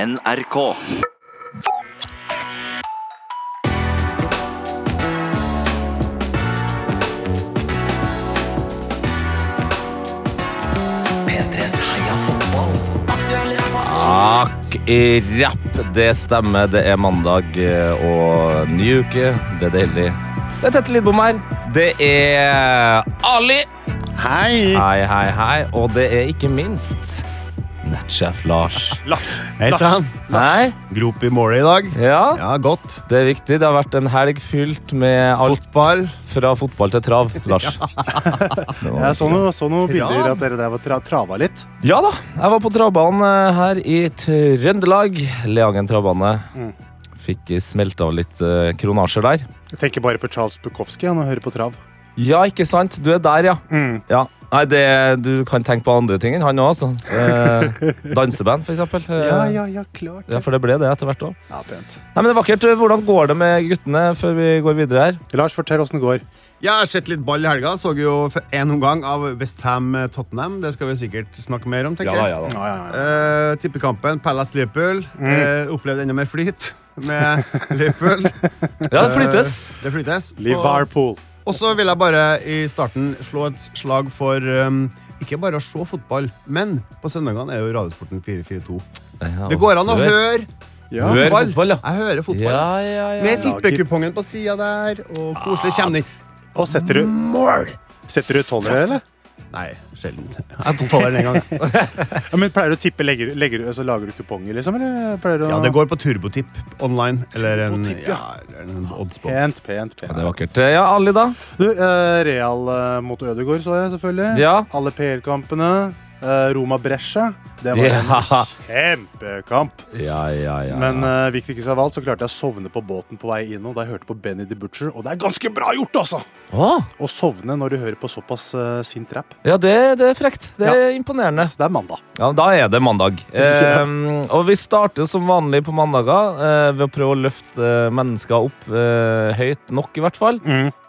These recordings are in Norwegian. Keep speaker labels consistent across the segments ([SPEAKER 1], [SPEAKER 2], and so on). [SPEAKER 1] NRK. P3s Heia fotball.
[SPEAKER 2] Akkurat, det stemmer. Det er mandag eh, og ny uke. Det er deilig. Det er Tette Lidbom her. Det er Ali.
[SPEAKER 3] Hei!
[SPEAKER 2] Hei, hei, hei. Og det er ikke minst nettsjef Lars.
[SPEAKER 3] Hei sann!
[SPEAKER 2] Hei.
[SPEAKER 3] Grop i målet i dag.
[SPEAKER 2] Ja,
[SPEAKER 3] Ja, godt.
[SPEAKER 2] det er viktig. Det har vært en helg fylt med alt
[SPEAKER 3] Fotball.
[SPEAKER 2] fra fotball til trav, Lars. Det var-
[SPEAKER 4] Jeg så noen, så noen
[SPEAKER 3] Trav?
[SPEAKER 4] bilder at dere der var tra trava litt.
[SPEAKER 2] Ja da, jeg var på travbanen eh, her i Trøndelag. Leangen travbane. Fikk eh, smelt av litt eh, kronasjer der.
[SPEAKER 4] Jeg tenker bare på Charles Bukowski når jeg hører på trav.
[SPEAKER 2] Ja, ikke sant? Du er der, ja.
[SPEAKER 4] Mm.
[SPEAKER 2] ja. Nei, det, du kan tenke på andre ting enn han òg, altså. Eh, danseband, for eksempel. Eh,
[SPEAKER 4] Ja, ja, ja, klart.
[SPEAKER 2] ja,
[SPEAKER 4] Ja,
[SPEAKER 2] for det ble det etter hvert òg.
[SPEAKER 4] pent.
[SPEAKER 2] Nei, men det er vakkert. Hvordan går det med guttene før vi går videre her?
[SPEAKER 4] Lars, fortell åssen det går.
[SPEAKER 3] Jeg har sett litt ball i helga. Så jo en omgang av Westham-Tottenham. Det skal vi sikkert snakke mer om. tenker jeg.
[SPEAKER 2] da.
[SPEAKER 4] Ja, ja, ja.
[SPEAKER 3] Eh, tippekampen Palace-Liverpool. Eh, opplevde enda mer flyt med Liverpool.
[SPEAKER 2] Ja, det flyttes.
[SPEAKER 3] Eh, det flytes. Og,
[SPEAKER 4] Liverpool.
[SPEAKER 3] og så vil jeg bare i starten slå et slag for um, ikke bare å se fotball, men på søndagene er jo Radiosporten 442.
[SPEAKER 2] Ja,
[SPEAKER 3] Det går an å
[SPEAKER 2] hør-
[SPEAKER 3] høre
[SPEAKER 4] Ja.
[SPEAKER 2] Hør
[SPEAKER 3] fotball.
[SPEAKER 2] fotball, ja.
[SPEAKER 3] Jeg hører fotball.
[SPEAKER 2] Ja, ja, ja.
[SPEAKER 3] Med tippekupongen på sida der, og koselig kjemning.
[SPEAKER 4] Og setter du
[SPEAKER 3] Mål!
[SPEAKER 4] Setter du tolvere, eller?
[SPEAKER 3] Nei, sjelden.
[SPEAKER 4] Jeg tolveren en gang. ja, men pleier du å tippe, legger, legger, altså, lager du kuponger, liksom? Eller pleier du å
[SPEAKER 3] Ja, det går på turbotipp online. Eller en,
[SPEAKER 4] Turbotipp, ja.
[SPEAKER 3] ja, eller en oddsbok.
[SPEAKER 4] Pent, pent, pent.
[SPEAKER 2] Det er vakkert. Ja, Ali, da?
[SPEAKER 4] Du, eh, Real eh, mot Ødegaard så jeg, selvfølgelig.
[SPEAKER 2] Ja.
[SPEAKER 4] Alle PL-kampene. Eh, Roma Brescia. Det var
[SPEAKER 2] Ja.
[SPEAKER 4] en kjempekamp.
[SPEAKER 2] Ja, ja, ja.
[SPEAKER 4] Men eh, viktigst av alt så klarte jeg å sovne på båten på vei innom da jeg hørte på Benny the Butcher. Og det er ganske bra gjort, altså!
[SPEAKER 2] Åh,
[SPEAKER 4] Å sovne når du hører på såpass eh, sint rap.
[SPEAKER 2] ja, det, det er frekt. Det er imponerende.
[SPEAKER 4] Så det er mandag.
[SPEAKER 2] Ja, Da er det mandag.
[SPEAKER 4] Ja.
[SPEAKER 2] Ehm, og vi starter som vanlig på mandager eh, ved å prøve å løfte eh, mennesker opp eh, høyt nok, i hvert fall,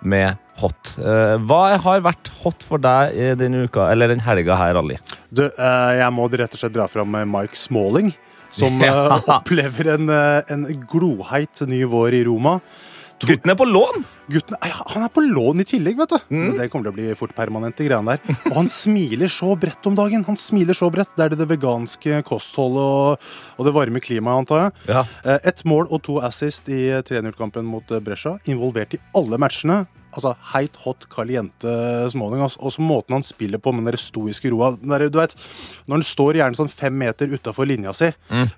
[SPEAKER 2] med hot. Eh, hva har vært hot for deg i denne uka, eller den helga her, Ali?
[SPEAKER 4] Du, eh, jeg må rett og slett dra fram eh, Mike Smalling, som eh,
[SPEAKER 2] Ja.
[SPEAKER 4] opplever en, eh, en gloheit ny vår i Roma.
[SPEAKER 2] Gutten er på lån!
[SPEAKER 4] Gutten, Ei, Han er på lån i tillegg, vet du.
[SPEAKER 2] Mm.
[SPEAKER 4] Men Det kommer til å bli fort permanente greiene der. Og han smiler så bredt om dagen. Han smiler så bredt. Det er det, det veganske kostholdet og, og det varme klimaet, antar jeg.
[SPEAKER 2] Ja.
[SPEAKER 4] Eh, Ett mål og to assist i 3-0-kampen mot eh, Brescia. Involvert i alle matchene. Altså heit, hot, caliente småling. ass. altså. Og så måten han spiller på med den der stoiske roa. Den der, du vet, når han står gjerne sånn fem meter utafor linja si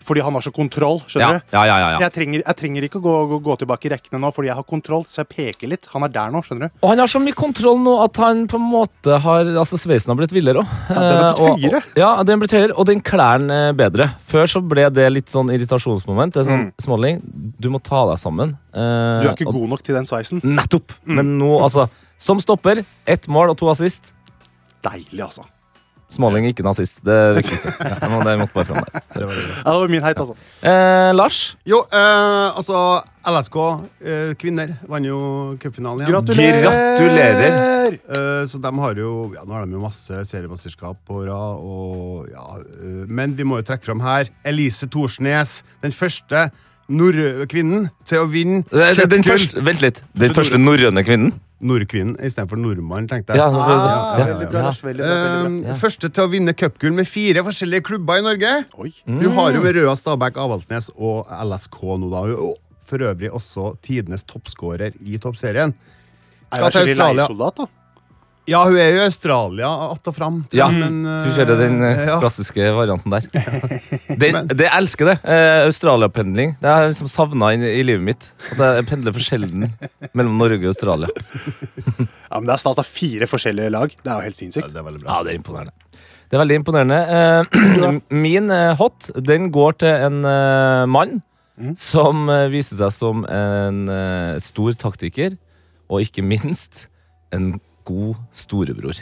[SPEAKER 4] fordi han har så kontroll,
[SPEAKER 2] Ja,
[SPEAKER 4] skjønner du?
[SPEAKER 2] ja, ja, ja, ja.
[SPEAKER 4] Jeg, trenger, jeg trenger ikke å gå, gå, gå tilbake i rekkene nå, fordi jeg har kontroll, så jeg peker litt. Han er der nå, skjønner du.
[SPEAKER 2] Og han har så mye kontroll nå at han på en måte har Altså, sveisen har blitt villere òg.
[SPEAKER 4] den har blitt høyere.
[SPEAKER 2] Ja, den har blitt høyere, og den klærne eh, bedre. Før så ble det litt sånn irritasjonsmoment. Det er sånn, Småling, du må ta deg sammen.
[SPEAKER 4] Mm.
[SPEAKER 2] Eh,
[SPEAKER 4] Du er ikke god nok til den sveisen.
[SPEAKER 2] Nettopp!
[SPEAKER 3] Mm.
[SPEAKER 2] Men nå, altså Som stopper, ett mål og to assist.
[SPEAKER 4] Deilig, altså.
[SPEAKER 2] Småling ikke noe assist. Det er viktig. Ja, men det måtte bare fram der.
[SPEAKER 4] Ja, det var min heit, altså.
[SPEAKER 2] Eh, Lars,
[SPEAKER 3] Jo, eh, altså LSK eh, kvinner vant jo cupfinalen igjen.
[SPEAKER 4] Gratulerer!
[SPEAKER 2] Gratulerer!
[SPEAKER 3] Eh, så de har jo ja, Nå har de jo masse seriemesterskap på rad, og ja eh, Men vi må jo trekke fram her Elise Thorsnes, den første nordkvinnen til å vinne
[SPEAKER 2] eh, den, den
[SPEAKER 3] cupgull.
[SPEAKER 2] første, vent litt. Den første norrøne kvinnen?
[SPEAKER 3] Nordkvinnen istedenfor nordmann, tenkte jeg.
[SPEAKER 2] Ja, for-
[SPEAKER 4] Ah,
[SPEAKER 2] ja,
[SPEAKER 4] veldig bra,
[SPEAKER 2] ja.
[SPEAKER 4] Lars. Veldig bra, veldig bra.
[SPEAKER 3] Eh, Første til å vinne cupgull med fire forskjellige klubber i Norge.
[SPEAKER 2] Eh,
[SPEAKER 4] Oi.
[SPEAKER 3] Du har
[SPEAKER 2] Mm.
[SPEAKER 3] jo med Røa, Stabæk, Avaldsnes og LSK nå, da. Og for øvrig også tidenes toppskårer i toppserien.
[SPEAKER 4] Er det skikkelig
[SPEAKER 3] Australia.
[SPEAKER 4] leiesoldat, da?
[SPEAKER 3] Ja, hun er jo i Australia att og fram.
[SPEAKER 2] Ja,
[SPEAKER 3] men, eh,
[SPEAKER 2] du kjører den eh,
[SPEAKER 3] ja.
[SPEAKER 2] klassiske varianten der. Det, det jeg elsker det. Eh, Australia-pendling. Det har jeg liksom savna i, i livet mitt. At jeg pendler for sjelden mellom Norge og Australia.
[SPEAKER 4] Ja, men Det er snart fire forskjellige lag. Det er jo helt sinnssykt.
[SPEAKER 3] Det er veldig bra.
[SPEAKER 2] Ja, det er imponerende. Det er veldig imponerende. Eh, min eh, hot, den går til en eh, mann som eh, viser seg som en eh, stor taktiker, og ikke minst en god storebror.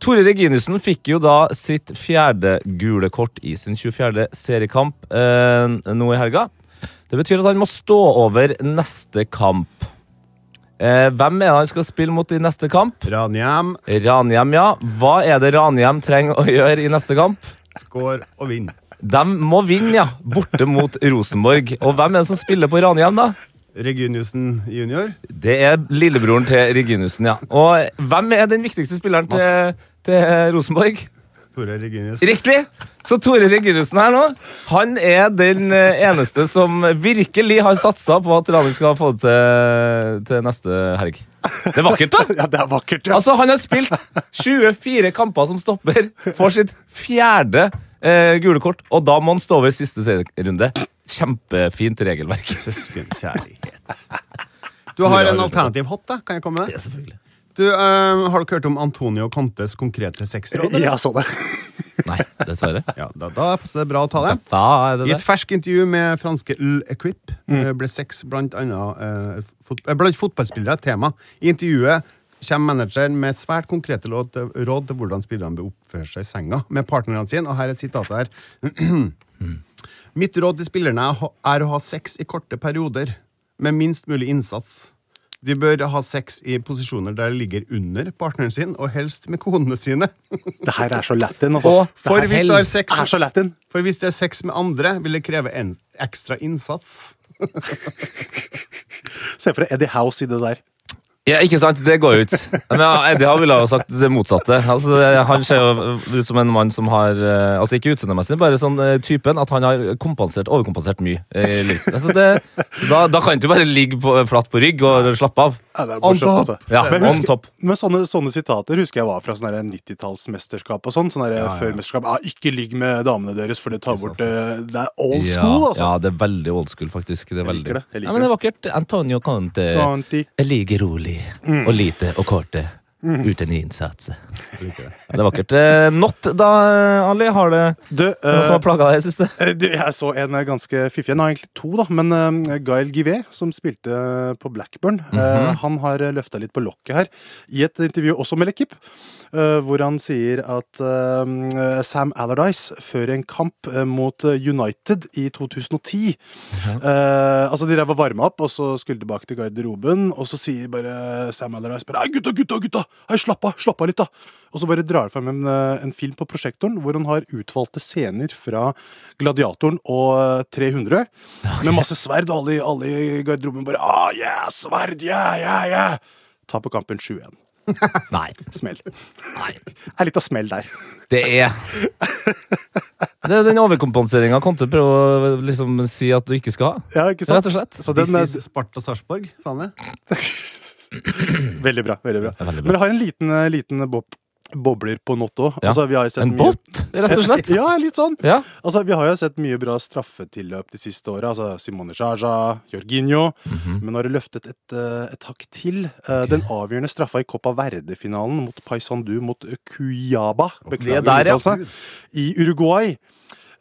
[SPEAKER 2] Tore Reginussen fikk jo da sitt fjerde gule kort i sin 24. seriekamp eh, nå i helga. Det betyr at han må stå over neste kamp. Eh, hvem er det han skal spille mot i neste kamp?
[SPEAKER 3] Ranheim
[SPEAKER 2] Ranhjem, ja. Hva er det Ranhjem trenger å gjøre i neste kamp?
[SPEAKER 3] skår og vinner.
[SPEAKER 2] De må vinne, ja. Borte mot Rosenborg. Og hvem er det som spiller på Ranheim, da?
[SPEAKER 3] Reginiussen junior.
[SPEAKER 2] Det er lillebroren til Reginussen, ja. Og hvem er den viktigste spilleren til, til Rosenborg?
[SPEAKER 3] Tore Reginius.
[SPEAKER 2] Riktig! Så Tore Reginussen her nå, han er den eh, eneste som virkelig har satsa på at Ranheim skal få det til, til neste helg. Det er vakkert, da!
[SPEAKER 4] Ja, det er vakkert. Ja.
[SPEAKER 2] Altså, han har spilt 24 kamper som stopper, får sitt fjerde eh, gule kort, og da må han stå over siste serierunde. Kjempefint regelverk.
[SPEAKER 3] Søskenkjærlighet. Du har en alternativ hot, da? Kan jeg komme med?
[SPEAKER 2] Ja, selvfølgelig.
[SPEAKER 3] Du, eh, har dere hørt om Antonio Contes konkrete sexråd? eller?
[SPEAKER 4] Jeg så det.
[SPEAKER 2] Nei, dessverre.
[SPEAKER 3] Ja, da, da passer det bra å ta det.
[SPEAKER 2] Da er det
[SPEAKER 3] I
[SPEAKER 2] det.
[SPEAKER 3] et ferskt intervju med franske L'Equipe eh, ble sex blant, annet, eh, fot eh, blant fotballspillere et tema. I intervjuet kommer manageren med svært konkrete råd, råd til hvordan spillerne bør oppføre seg i senga med partnerne sine, og her er et sitat her. Mitt råd til spillerne er å ha- er å ha sex i korte perioder, med minst mulig innsats. De bør ha sex i posisjoner der de ligger under partneren sin, og helst med konene sine.
[SPEAKER 4] Det her er så latin, altså.
[SPEAKER 2] Og
[SPEAKER 4] Det
[SPEAKER 3] for
[SPEAKER 4] her
[SPEAKER 3] hvis du har
[SPEAKER 4] helst
[SPEAKER 3] sex-
[SPEAKER 4] er så latin.
[SPEAKER 3] For hvis det er sex med andre, vil det kreve en ekstra innsats.
[SPEAKER 4] Se for deg Eddie House i det der.
[SPEAKER 2] Ja, ikke sant? Det går jo ut. Men ja, Eddie har ville ha sagt det motsatte. Altså, det- han ser jo ut som en mann som har eh, Altså ikke utseendemessig, bare sånn eh, typen at han har kompensert, overkompensert mye. eh, i livet. altså, det, da, da kan du bare ligge på, flatt på rygg og slappe av.
[SPEAKER 4] Ja, det er morsomt,
[SPEAKER 3] top.
[SPEAKER 4] altså.
[SPEAKER 2] Ja,
[SPEAKER 4] Men
[SPEAKER 2] on
[SPEAKER 4] husk-
[SPEAKER 2] top.
[SPEAKER 4] Men sånne, sånne sitater husker jeg var fra sånne der 90-tallsmesterskap og sånn. Sånne der før mesterskap. Ja, ikke ligg med damene deres, for det tar bort eh, Det er old school, altså.
[SPEAKER 2] Ja, det er veldig old school, faktisk. Det er veldig.
[SPEAKER 4] liker det, jeg liker
[SPEAKER 2] Nei, men det er vakkert. Antonio Conte.
[SPEAKER 4] Conte.
[SPEAKER 2] Jeg liker rolig
[SPEAKER 4] Mm.
[SPEAKER 2] og lite og korte. Uten innsats. Det er vakkert. Eh, Not, da, Ali, har det
[SPEAKER 4] Du,
[SPEAKER 2] noe som har
[SPEAKER 4] eh,
[SPEAKER 2] plaga deg i det siste?
[SPEAKER 4] du, jeg så en eh, ganske fiffig en. Har egentlig to, da. Men eh, Gael Givet, som spilte eh, på Blackburn, eh, han har løfta litt på lokket her. I et intervju også med Lekip, hvor han sier at eh, Sam Allardyce, før en kamp eh, mot eh, United i 2010 Eh, altså De drev og varma opp, og så skulle de tilbake til garderoben. Og så sier bare Sam Allardyce bare, «Hei, 'Gutta, gutta, gutta! Hei, slapp av! slapp av litt da Og så bare drar han frem en, eh, en film på prosjektoren hvor han har utvalgte scener fra Gladiatoren og eh, 300. Med masse sverd, og alle, i- alle i garderoben bare ah, yeah, 'Sverd! Yeah, yeah, yeah!' Taper kampen 7-1.
[SPEAKER 2] Nei.
[SPEAKER 4] Smell.
[SPEAKER 2] Nei.
[SPEAKER 4] Er litt av smell der.
[SPEAKER 2] Det er Det er den overkompenseringa Conte prøver å liksom si at du ikke skal ha.
[SPEAKER 4] Ja, ikke sant?
[SPEAKER 2] Rett og slett.
[SPEAKER 4] Så den, eh,
[SPEAKER 3] This is Sparta Sarpsborg, sa han det?
[SPEAKER 4] Veldig bra. veldig bra.
[SPEAKER 2] er veldig bra.
[SPEAKER 4] Men jeg har en liten, eh, liten bob bobler på not òg.
[SPEAKER 2] Ja.
[SPEAKER 4] Altså, vi har jo sett
[SPEAKER 2] En
[SPEAKER 4] mye-
[SPEAKER 2] bot, rett og slett.
[SPEAKER 4] Ja, litt sånn.
[SPEAKER 2] Ja.
[SPEAKER 4] Altså, Vi har jo sett mye bra straffetilløp de siste åra. Altså, Simone Jaja, Jorginho. Men nå har det løftet et, eh, et hakk til. Eh, Den avgjørende straffa i Copa Verde-finalen mot Paisandu mot Cuyaba Beklager,
[SPEAKER 2] det der, ja.
[SPEAKER 4] uttalelse. I Uruguay.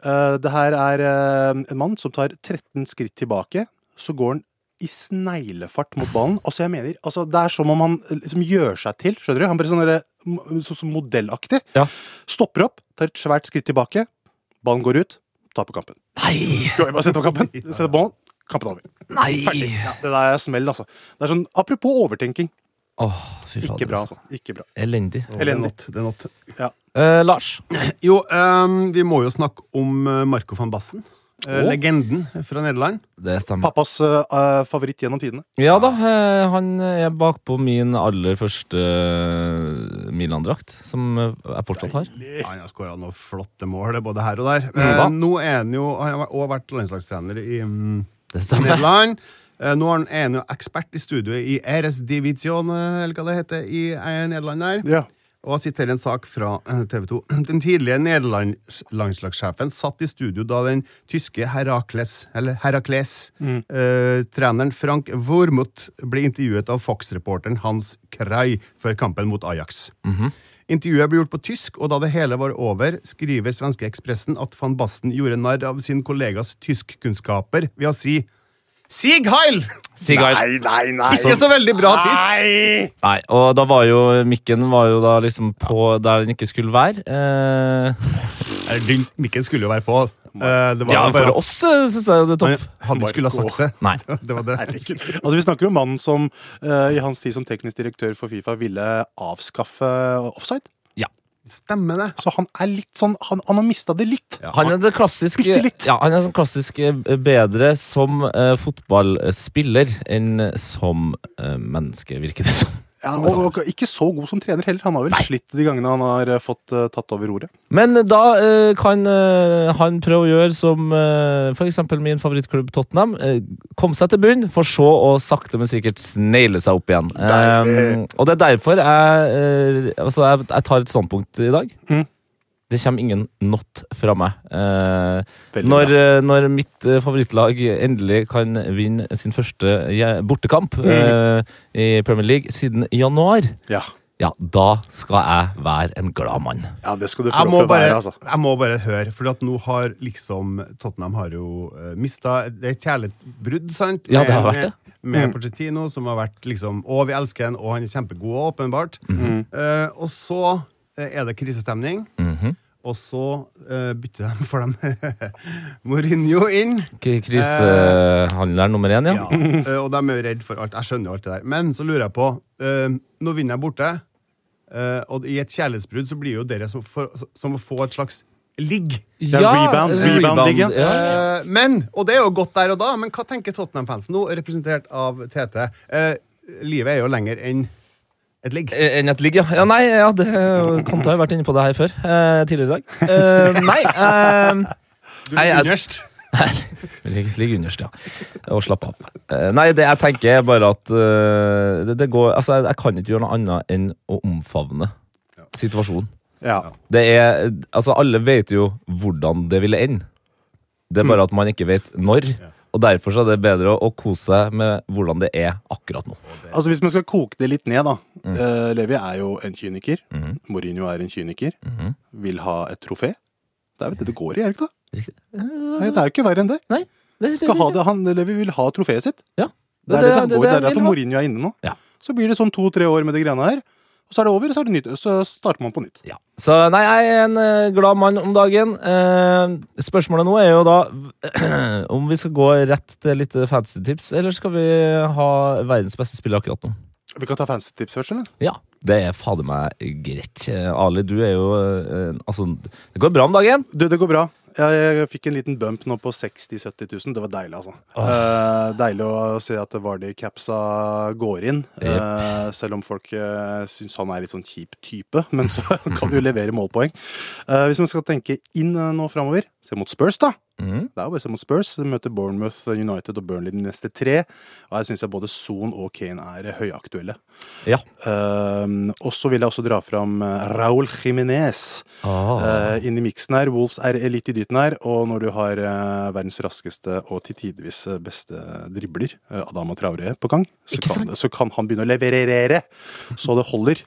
[SPEAKER 4] Eh, Det her er eh, en mann som tar 13 skritt tilbake. Så går han i sneglefart mot ballen. Altså, jeg mener, altså, Det er som om han eh, liksom gjør seg til. skjønner du? Han blir sånn derre, mm, sånn som modellaktig.
[SPEAKER 2] Ja.
[SPEAKER 4] Stopper opp, tar et svært skritt tilbake. Ballen går ut, taper kampen.
[SPEAKER 2] Nei!
[SPEAKER 4] Skal vi bare sette opp kampen? Sette ballen, kampen over.
[SPEAKER 2] Nei!
[SPEAKER 4] Ferdig. Ja, det der er smell, altså. Det er sånn, Apropos overtenking.
[SPEAKER 2] Åh, fy fader.
[SPEAKER 4] Ikke bra, altså. Ikke bra.
[SPEAKER 2] Elendig.
[SPEAKER 4] Elendig.
[SPEAKER 3] Det er not.
[SPEAKER 2] Eh, Lars.
[SPEAKER 3] Jo, ehm, vi må jo snakke om eh, Marco van Bassen. Eh,
[SPEAKER 4] Å.
[SPEAKER 3] Legenden fra Nederland.
[SPEAKER 2] Det stemmer.
[SPEAKER 4] Pappas eh, favoritt gjennom tidene.
[SPEAKER 2] Ja da, eh, han er bakpå min aller første eh, Milan-drakt, som eh, jeg fortsatt har.
[SPEAKER 3] Ja, Han har skåra noen flotte mål både her og der.
[SPEAKER 2] Mm,
[SPEAKER 3] Eh,
[SPEAKER 2] da.
[SPEAKER 3] nå er han jo Han har også vært landslagstrener i mm,
[SPEAKER 2] Det stemmer.
[SPEAKER 3] Nederland. Eh, nå er han- er han jo ekspert i studioet i RS Division, eh, eller hva det heter, i eh, Nederland der.
[SPEAKER 4] Ja.
[SPEAKER 3] Og jeg siterer en sak fra eh, TV 2. Den tidligere Nederland-landslagssjefen satt i studio da den tyske Herakles, eller Herakles, eh, treneren Frank Wormuth ble intervjuet av Fox-reporteren Hans Krei før kampen mot Ajax. Intervjuet ble gjort på tysk, og da det hele var over, skriver svenske Ekspressen at van Basten gjorde narr av sin kollegas tyskkunnskaper ved å si Sieg Heil!
[SPEAKER 2] Sig Heil.
[SPEAKER 4] nei, nei!
[SPEAKER 3] Ikke så veldig bra tysk.
[SPEAKER 4] Nei!
[SPEAKER 2] Nei, og da var jo mikken var jo da liksom på der den ikke skulle være. Eh,
[SPEAKER 3] Eh, den Mikken skulle jo være på. Eh, det var
[SPEAKER 2] ja,
[SPEAKER 3] jo bare
[SPEAKER 2] for oss syns jeg det er
[SPEAKER 3] Men
[SPEAKER 2] topp.
[SPEAKER 3] han
[SPEAKER 4] Marco.
[SPEAKER 3] skulle ha sagt det.
[SPEAKER 2] Nei.
[SPEAKER 3] Det var det.
[SPEAKER 4] Altså, Vi snakker om mannen som eh, i hans tid som teknisk direktør for Fifa ville avskaffe offside.
[SPEAKER 2] Ja.
[SPEAKER 3] Stemmer det.
[SPEAKER 4] Så han er litt sånn Han, han har mista det litt.
[SPEAKER 2] Han er det klassiske
[SPEAKER 4] Bitte litt.
[SPEAKER 2] Ja, han er sånn klassisk eh, bedre som eh, fotballspiller enn som eh, menneske, virker det som.
[SPEAKER 4] Ja, altså. og, og ikke så god som trener heller. Han har vel slitt de gangene han har eh, fått eh, tatt over roret.
[SPEAKER 2] Men da eh, kan eh, han prøve å gjøre som eh, for f.eks. min favorittklubb Tottenham. Eh, komme seg til bunn, for så å sakte, men sikkert snegle seg opp igjen. Eh, og det er derfor jeg, eh, altså jeg, jeg tar et standpunkt i dag.
[SPEAKER 4] Mm.
[SPEAKER 2] Det kommer ingen not fra meg. Eh,
[SPEAKER 4] Veldig bra.
[SPEAKER 2] når, eh, når mitt eh, favorittlag endelig kan vinne sin første je- bortekamp
[SPEAKER 4] Mm.
[SPEAKER 2] eh, i Premier League siden januar,
[SPEAKER 4] Ja.
[SPEAKER 2] ja, da skal jeg være en glad mann.
[SPEAKER 4] ja, det skal du få
[SPEAKER 3] Jeg
[SPEAKER 4] lov
[SPEAKER 3] må
[SPEAKER 4] til å
[SPEAKER 3] bare,
[SPEAKER 4] være, altså.
[SPEAKER 3] jeg må bare høre, for at nå har liksom Tottenham har jo uh, mista Det er et kjærlighetsbrudd, sant?
[SPEAKER 2] Ja, det har
[SPEAKER 3] Med-
[SPEAKER 2] vært det.
[SPEAKER 3] Med, med Pochettino, som har vært liksom Å, vi elsker han, og han er kjempegod, åpenbart. Eh, og så eh, er det krisestemning.
[SPEAKER 2] Mhm.
[SPEAKER 3] Og så eh, bytter de for dem Mourinho inn.
[SPEAKER 2] K- Krisehandler nummer én, ja.
[SPEAKER 3] Eh, Ja. eh, og de er jo redd for alt. Jeg skjønner jo alt det der. Men så lurer jeg på eh, Nå vinner jeg borte, eh, og i et kjærlighetsbrudd så blir jo dere som, får- som får et slags ligg.
[SPEAKER 4] Ja, rebound,
[SPEAKER 2] eh,
[SPEAKER 4] rebound-digg, ja.
[SPEAKER 2] ja.
[SPEAKER 3] Eh, men, og det er jo godt der og da, men hva tenker Tottenham-fansen nå, representert av TT? Eh, livet er jo lenger enn et ligg.
[SPEAKER 2] Eh, Enn et ligg, ja. ja. Nei, ja, det kan ta, jeg har vært inne på det her før. eh, tidligere i dag. Eh, nei. eh,
[SPEAKER 3] Du
[SPEAKER 2] Nei,
[SPEAKER 3] ligger
[SPEAKER 2] altså-
[SPEAKER 3] underst.
[SPEAKER 2] Ligg ligg underst, ja. Og slapp av. Eh, nei, det jeg tenker er bare at eh, det, det går Altså, jeg, jeg kan ikke gjøre noe annet enn å omfavne situasjonen.
[SPEAKER 4] Ja.
[SPEAKER 2] Det er Altså, alle vet jo hvordan det ville ende. Det er
[SPEAKER 3] Mm.
[SPEAKER 2] bare at man ikke vet når. Og derfor så er det bedre å, å kose seg med hvordan det er akkurat nå.
[SPEAKER 4] Altså Hvis man skal koke det litt ned, da. Eh, Levi er jo en kyniker. Mourinho er en kyniker.
[SPEAKER 2] Mhm.
[SPEAKER 4] Vil ha et trofé. Det er vel det det går i, er det ikke det?
[SPEAKER 2] Riktig.
[SPEAKER 4] Nei, det er jo ikke verre enn det.
[SPEAKER 2] Nei. Det,
[SPEAKER 4] Skal ha det, han, Levi vil ha trofeet sitt.
[SPEAKER 2] Ja.
[SPEAKER 4] Det er det han går i.
[SPEAKER 2] jeg
[SPEAKER 4] Det er
[SPEAKER 2] vil
[SPEAKER 4] derfor
[SPEAKER 2] ha.
[SPEAKER 4] Mourinho er inne nå.
[SPEAKER 2] Ja.
[SPEAKER 4] Så blir det sånn to-tre år med de greiene her. Og så er det over, og så, er det nytt, så starter man på nytt.
[SPEAKER 2] Ja. Så nei, jeg er en eh, glad mann om dagen. Eh, spørsmålet nå er jo da om vi skal gå rett til litt fancy tips, eller skal vi ha verdens beste spiller akkurat nå?
[SPEAKER 4] Vi kan ta fancy tips først, eller?
[SPEAKER 2] Ja, det er fader meg greit. Eh, Ali, du er jo eh, Altså, det går bra om dagen.
[SPEAKER 4] Du, det går bra. Jeg, jeg fikk en liten bump nå på 60 000-70 000. Det var deilig, altså. Eh, deilig å se at Vardy-capsa går inn. eh, selv om folk uh, syns han er litt sånn kjip type, men så kan du levere målpoeng. Eh, hvis man skal tenke inn eh, nå framover, se mot Spurs, da.
[SPEAKER 2] Mhm.
[SPEAKER 4] Det er jo bare å se mot Spurs. De møter Bournemouth, United og Burnley de neste tre. Og her syns jeg både Son og Kane er eh, høyaktuelle.
[SPEAKER 2] Ja.
[SPEAKER 4] Eh, og så vil jeg også dra fram eh, Raúl Jiménez.
[SPEAKER 2] Ah.
[SPEAKER 4] Eh, inn i miksen her. Wolves er litt i dyten her. Og når du har eh, verdens raskeste og til tidvis eh, beste dribler, eh, Adama Traore, på gang, så
[SPEAKER 2] Ikke
[SPEAKER 4] kan, så kan han begynne å leverere så det holder.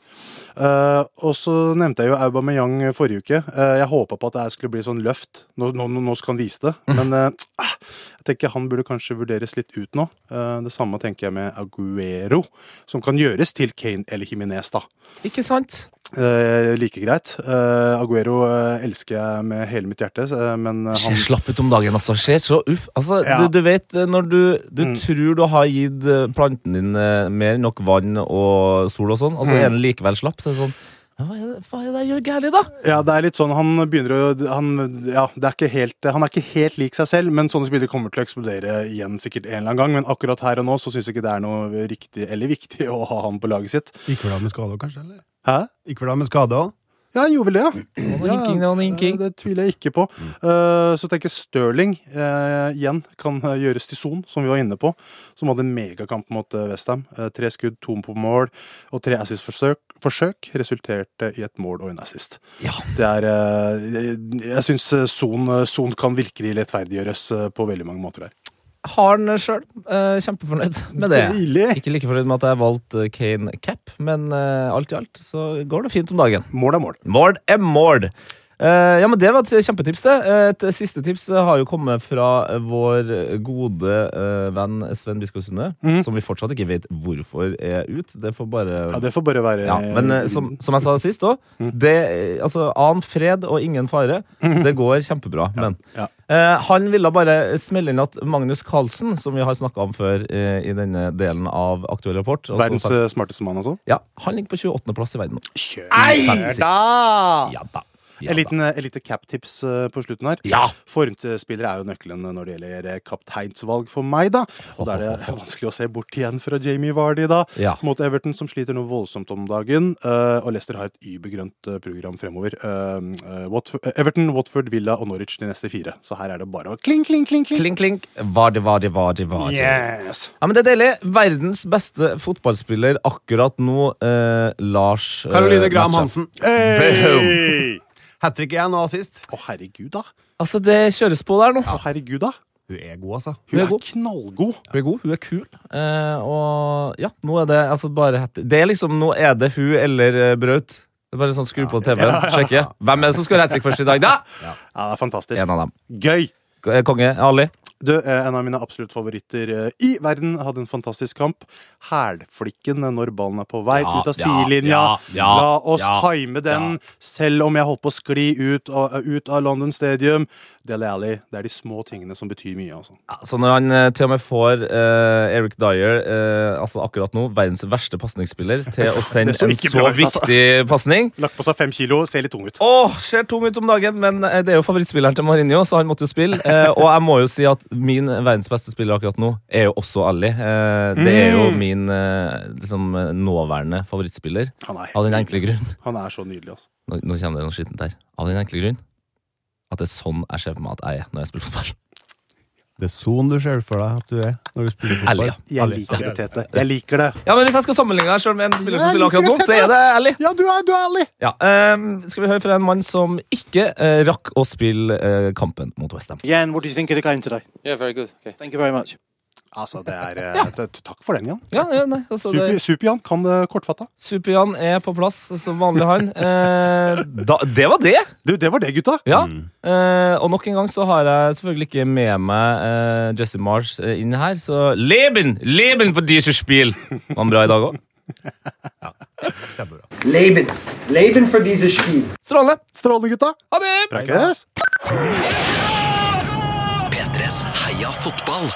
[SPEAKER 4] Eh, og så nevnte jeg jo Aubameyang forrige uke. Eh, jeg håpa på at det her skulle bli sånn løft. Nå, nå, nå nå skal han vise det.
[SPEAKER 2] Mm.
[SPEAKER 4] Men eh, ah, jeg tenker han burde kanskje vurderes litt ut nå. Eh, det samme tenker jeg med Aguero, som kan gjøres til Kane eller Jiminez, da.
[SPEAKER 2] Ikke sant?
[SPEAKER 4] Eh, like greit. Eh, Aguero eh, elsker jeg med hele mitt hjerte, eh, men eh,
[SPEAKER 2] Skjer
[SPEAKER 4] han
[SPEAKER 2] slapp ut om dagen, altså. Skjer så uff. Altså,
[SPEAKER 4] Ja. Mm.
[SPEAKER 2] du, du vet eh, når du, du tror du har gitt eh, planten din eh, mer enn nok vann og sol og sånn, og så er
[SPEAKER 4] Mm.
[SPEAKER 2] den likevel slapp, så er det sånn ja, hva er det- Hva er det jeg gjør gærent, da?
[SPEAKER 4] Ja, det er litt sånn Han begynner å han, ja, det er ikke helt, han er ikke helt lik seg selv, men sånne spillere kommer til å eksplodere igjen sikkert en eller annen gang. Men akkurat her og nå så syns jeg ikke det er noe riktig eller viktig å ha han på laget sitt.
[SPEAKER 3] Gikk vel av med skade òg, kanskje? eller?
[SPEAKER 4] Hæ?
[SPEAKER 3] Gikk vel av med skade òg?
[SPEAKER 4] Ja, han gjorde vel det, ja. ja
[SPEAKER 2] hinking, det var noe hinking.
[SPEAKER 4] Det tviler jeg ikke på. Eh, så tenker jeg Stirling eh, igjen kan eh, gjøres til son, som vi var inne på. Som hadde en megakamp mot eh, Westham. Eh, tre skudd, to på mål og tre assist-forsøk. Forsøk resulterte i et mål og en assist.
[SPEAKER 2] Ja.
[SPEAKER 4] Det er eh, Jeg, jeg syns son, eh, son kan virkelig lettferdiggjøres eh, på veldig mange måter her.
[SPEAKER 2] Har den sjøl. Eh, kjempefornøyd med det.
[SPEAKER 4] Deilig!
[SPEAKER 2] Ikke like fornøyd med at jeg valgte Kane Cap, men eh, alt i alt så går det fint om dagen.
[SPEAKER 4] Mål er mål.
[SPEAKER 2] Mål er mål. Eh, Eh, ja, men Det var et kjempetips. det. Eh, Et siste tips eh, har jo kommet fra eh, vår gode eh, venn Sven Biskov Sunde. Som vi fortsatt ikke vet hvorfor er ut. Det får bare
[SPEAKER 4] Mhm. Ja, det Mhm. får bare være
[SPEAKER 2] ja, men eh, som, som jeg sa sist òg, altså annen fred og ingen fare. Det går kjempebra. Men
[SPEAKER 4] Mhm. ja.
[SPEAKER 2] eh, han ville bare smelle inn at Magnus Carlsen, som vi har snakka om før eh, i denne delen av Aktuell rapport altså-
[SPEAKER 4] Verdens eh, smarteste mann, altså.
[SPEAKER 2] ja, Han ligger på 28.-plass i verden nå.
[SPEAKER 4] Kjør
[SPEAKER 2] Fantasy.
[SPEAKER 4] da!
[SPEAKER 2] Ja da. Ja,
[SPEAKER 4] En liten, eh, en lite cap-tips eh, på slutten her.
[SPEAKER 2] Ja.
[SPEAKER 4] Formspillere er jo nøkkelen når det gjelder eh, kapteinsvalg for meg, da. Og da er det vanskelig å se bort igjen fra Jamie Vardy, da.
[SPEAKER 2] Ja.
[SPEAKER 4] Mot Everton, som sliter noe voldsomt om dagen. eh, og Leicester har et übergrønt eh, program fremover. Eh, eh, Watford, eh, Everton, Watford, Villa og Norwich de neste fire. Så her er det bare å kling, kling, kling, kling.
[SPEAKER 2] Klink, klink. Var det, var det, var det, var det.
[SPEAKER 4] Yes!
[SPEAKER 2] Ja, men Det er deilig. Verdens beste fotballspiller akkurat nå, eh, Lars eh,
[SPEAKER 3] Caroline Graham
[SPEAKER 2] Matcha.
[SPEAKER 3] Hansen.
[SPEAKER 4] Hey!
[SPEAKER 3] Hat trick igjen og assist.
[SPEAKER 4] Å, herregud, da.
[SPEAKER 2] Altså, Det kjøres på der nå.
[SPEAKER 4] Å, herregud, da.
[SPEAKER 3] Hun er god, altså.
[SPEAKER 4] Hun
[SPEAKER 2] er
[SPEAKER 4] er
[SPEAKER 2] god.
[SPEAKER 4] knallgod.
[SPEAKER 2] Hun er god, hun er kul. Eh, og ja, nå er det altså bare hat- Det er liksom, Nå er det hun eller eh, Braut. Det er bare sånn, Skru på TV-en, sjekke. Hvem er det som skal ha hat trick først i dag, da?
[SPEAKER 4] Ja, det er fantastisk.
[SPEAKER 2] En av dem.
[SPEAKER 4] Gøy!
[SPEAKER 2] K- eh, Konge Ali.
[SPEAKER 4] Du, eh, en av mine absolutt favoritter eh, i verden hadde en fantastisk kamp. Hælflikken eh, når ballen er på vei
[SPEAKER 2] Ja,
[SPEAKER 4] ut av
[SPEAKER 2] ja,
[SPEAKER 4] sidelinja.
[SPEAKER 2] ja, ja,
[SPEAKER 4] La oss
[SPEAKER 2] ja,
[SPEAKER 4] time den, selv om jeg holdt på å skli ut, av- ut av London Stadium. Dele Alli, det er de små tingene som betyr mye, altså.
[SPEAKER 2] Ja, så når han eh, til og med får eh, Eric Dyer, eh, altså akkurat nå verdens verste pasningsspiller, til å sende
[SPEAKER 4] Det så
[SPEAKER 2] en
[SPEAKER 4] ikke
[SPEAKER 2] så
[SPEAKER 4] bra ut, altså.
[SPEAKER 2] viktig pasning
[SPEAKER 4] Lagt på seg fem kilo, ser litt tung ut.
[SPEAKER 2] Åh, ser tung ut om dagen, men eh, det er jo favorittspilleren til Mourinho, så han måtte jo spille. Eh, og jeg må jo si at min verdens beste spiller akkurat nå er jo også Ali. Eh, det er jo min eh, liksom, eh, nåværende favorittspiller,
[SPEAKER 4] Han er,
[SPEAKER 2] av den
[SPEAKER 4] helt
[SPEAKER 2] enkle
[SPEAKER 4] nydelig.
[SPEAKER 2] grunn
[SPEAKER 4] Han er så nydelig, altså.
[SPEAKER 2] Nå, nå kommer det noe skittent her. Av den enkle grunn at det er sånn jeg ser for meg at jeg er når jeg spiller fotball.
[SPEAKER 3] Det er sånn du ser for deg at du er når du spiller fotball.
[SPEAKER 2] Ærlig, ja.
[SPEAKER 4] Jeg liker det, Tete. Jeg liker det.
[SPEAKER 2] Ja, men Hvis jeg skal sammenligne deg selv med en spiller
[SPEAKER 4] Ja,
[SPEAKER 2] som
[SPEAKER 4] jeg
[SPEAKER 2] spiller akkurat
[SPEAKER 4] liker
[SPEAKER 2] nå,
[SPEAKER 4] det,
[SPEAKER 2] så er det Ali.
[SPEAKER 4] Ja, du er, du er ærlig!
[SPEAKER 2] Ja, ehm, skal vi høre fra en mann som ikke eh, rakk å spille eh, kampen mot Westham.
[SPEAKER 5] Jan, what do you think of the game today?
[SPEAKER 6] Yeah, very good. Okay.
[SPEAKER 5] Thank you very much.
[SPEAKER 4] Altså, det er eh, t- t- Takk for den, Jan.
[SPEAKER 2] Ja, ja, nei, altså det...
[SPEAKER 4] Super- Super-Jan kan det kortfatta.
[SPEAKER 2] Super-Jan er på plass som vanlig, han. Eh, da, det var det!
[SPEAKER 4] Du, det var det, gutta.
[SPEAKER 2] Ja.
[SPEAKER 1] Mm.
[SPEAKER 2] Eh, og nok en gang så har jeg selvfølgelig ikke med meg eh, Jesse Marsh eh, inn her, så Leben! Leben for dieses Spiel! Var han bra i dag òg?
[SPEAKER 7] Leben. Leben für dieses Spiel.
[SPEAKER 2] Strålende!
[SPEAKER 4] Strålende, gutta.
[SPEAKER 2] Ha det!
[SPEAKER 4] Preikes!
[SPEAKER 1] P3s Heia fotball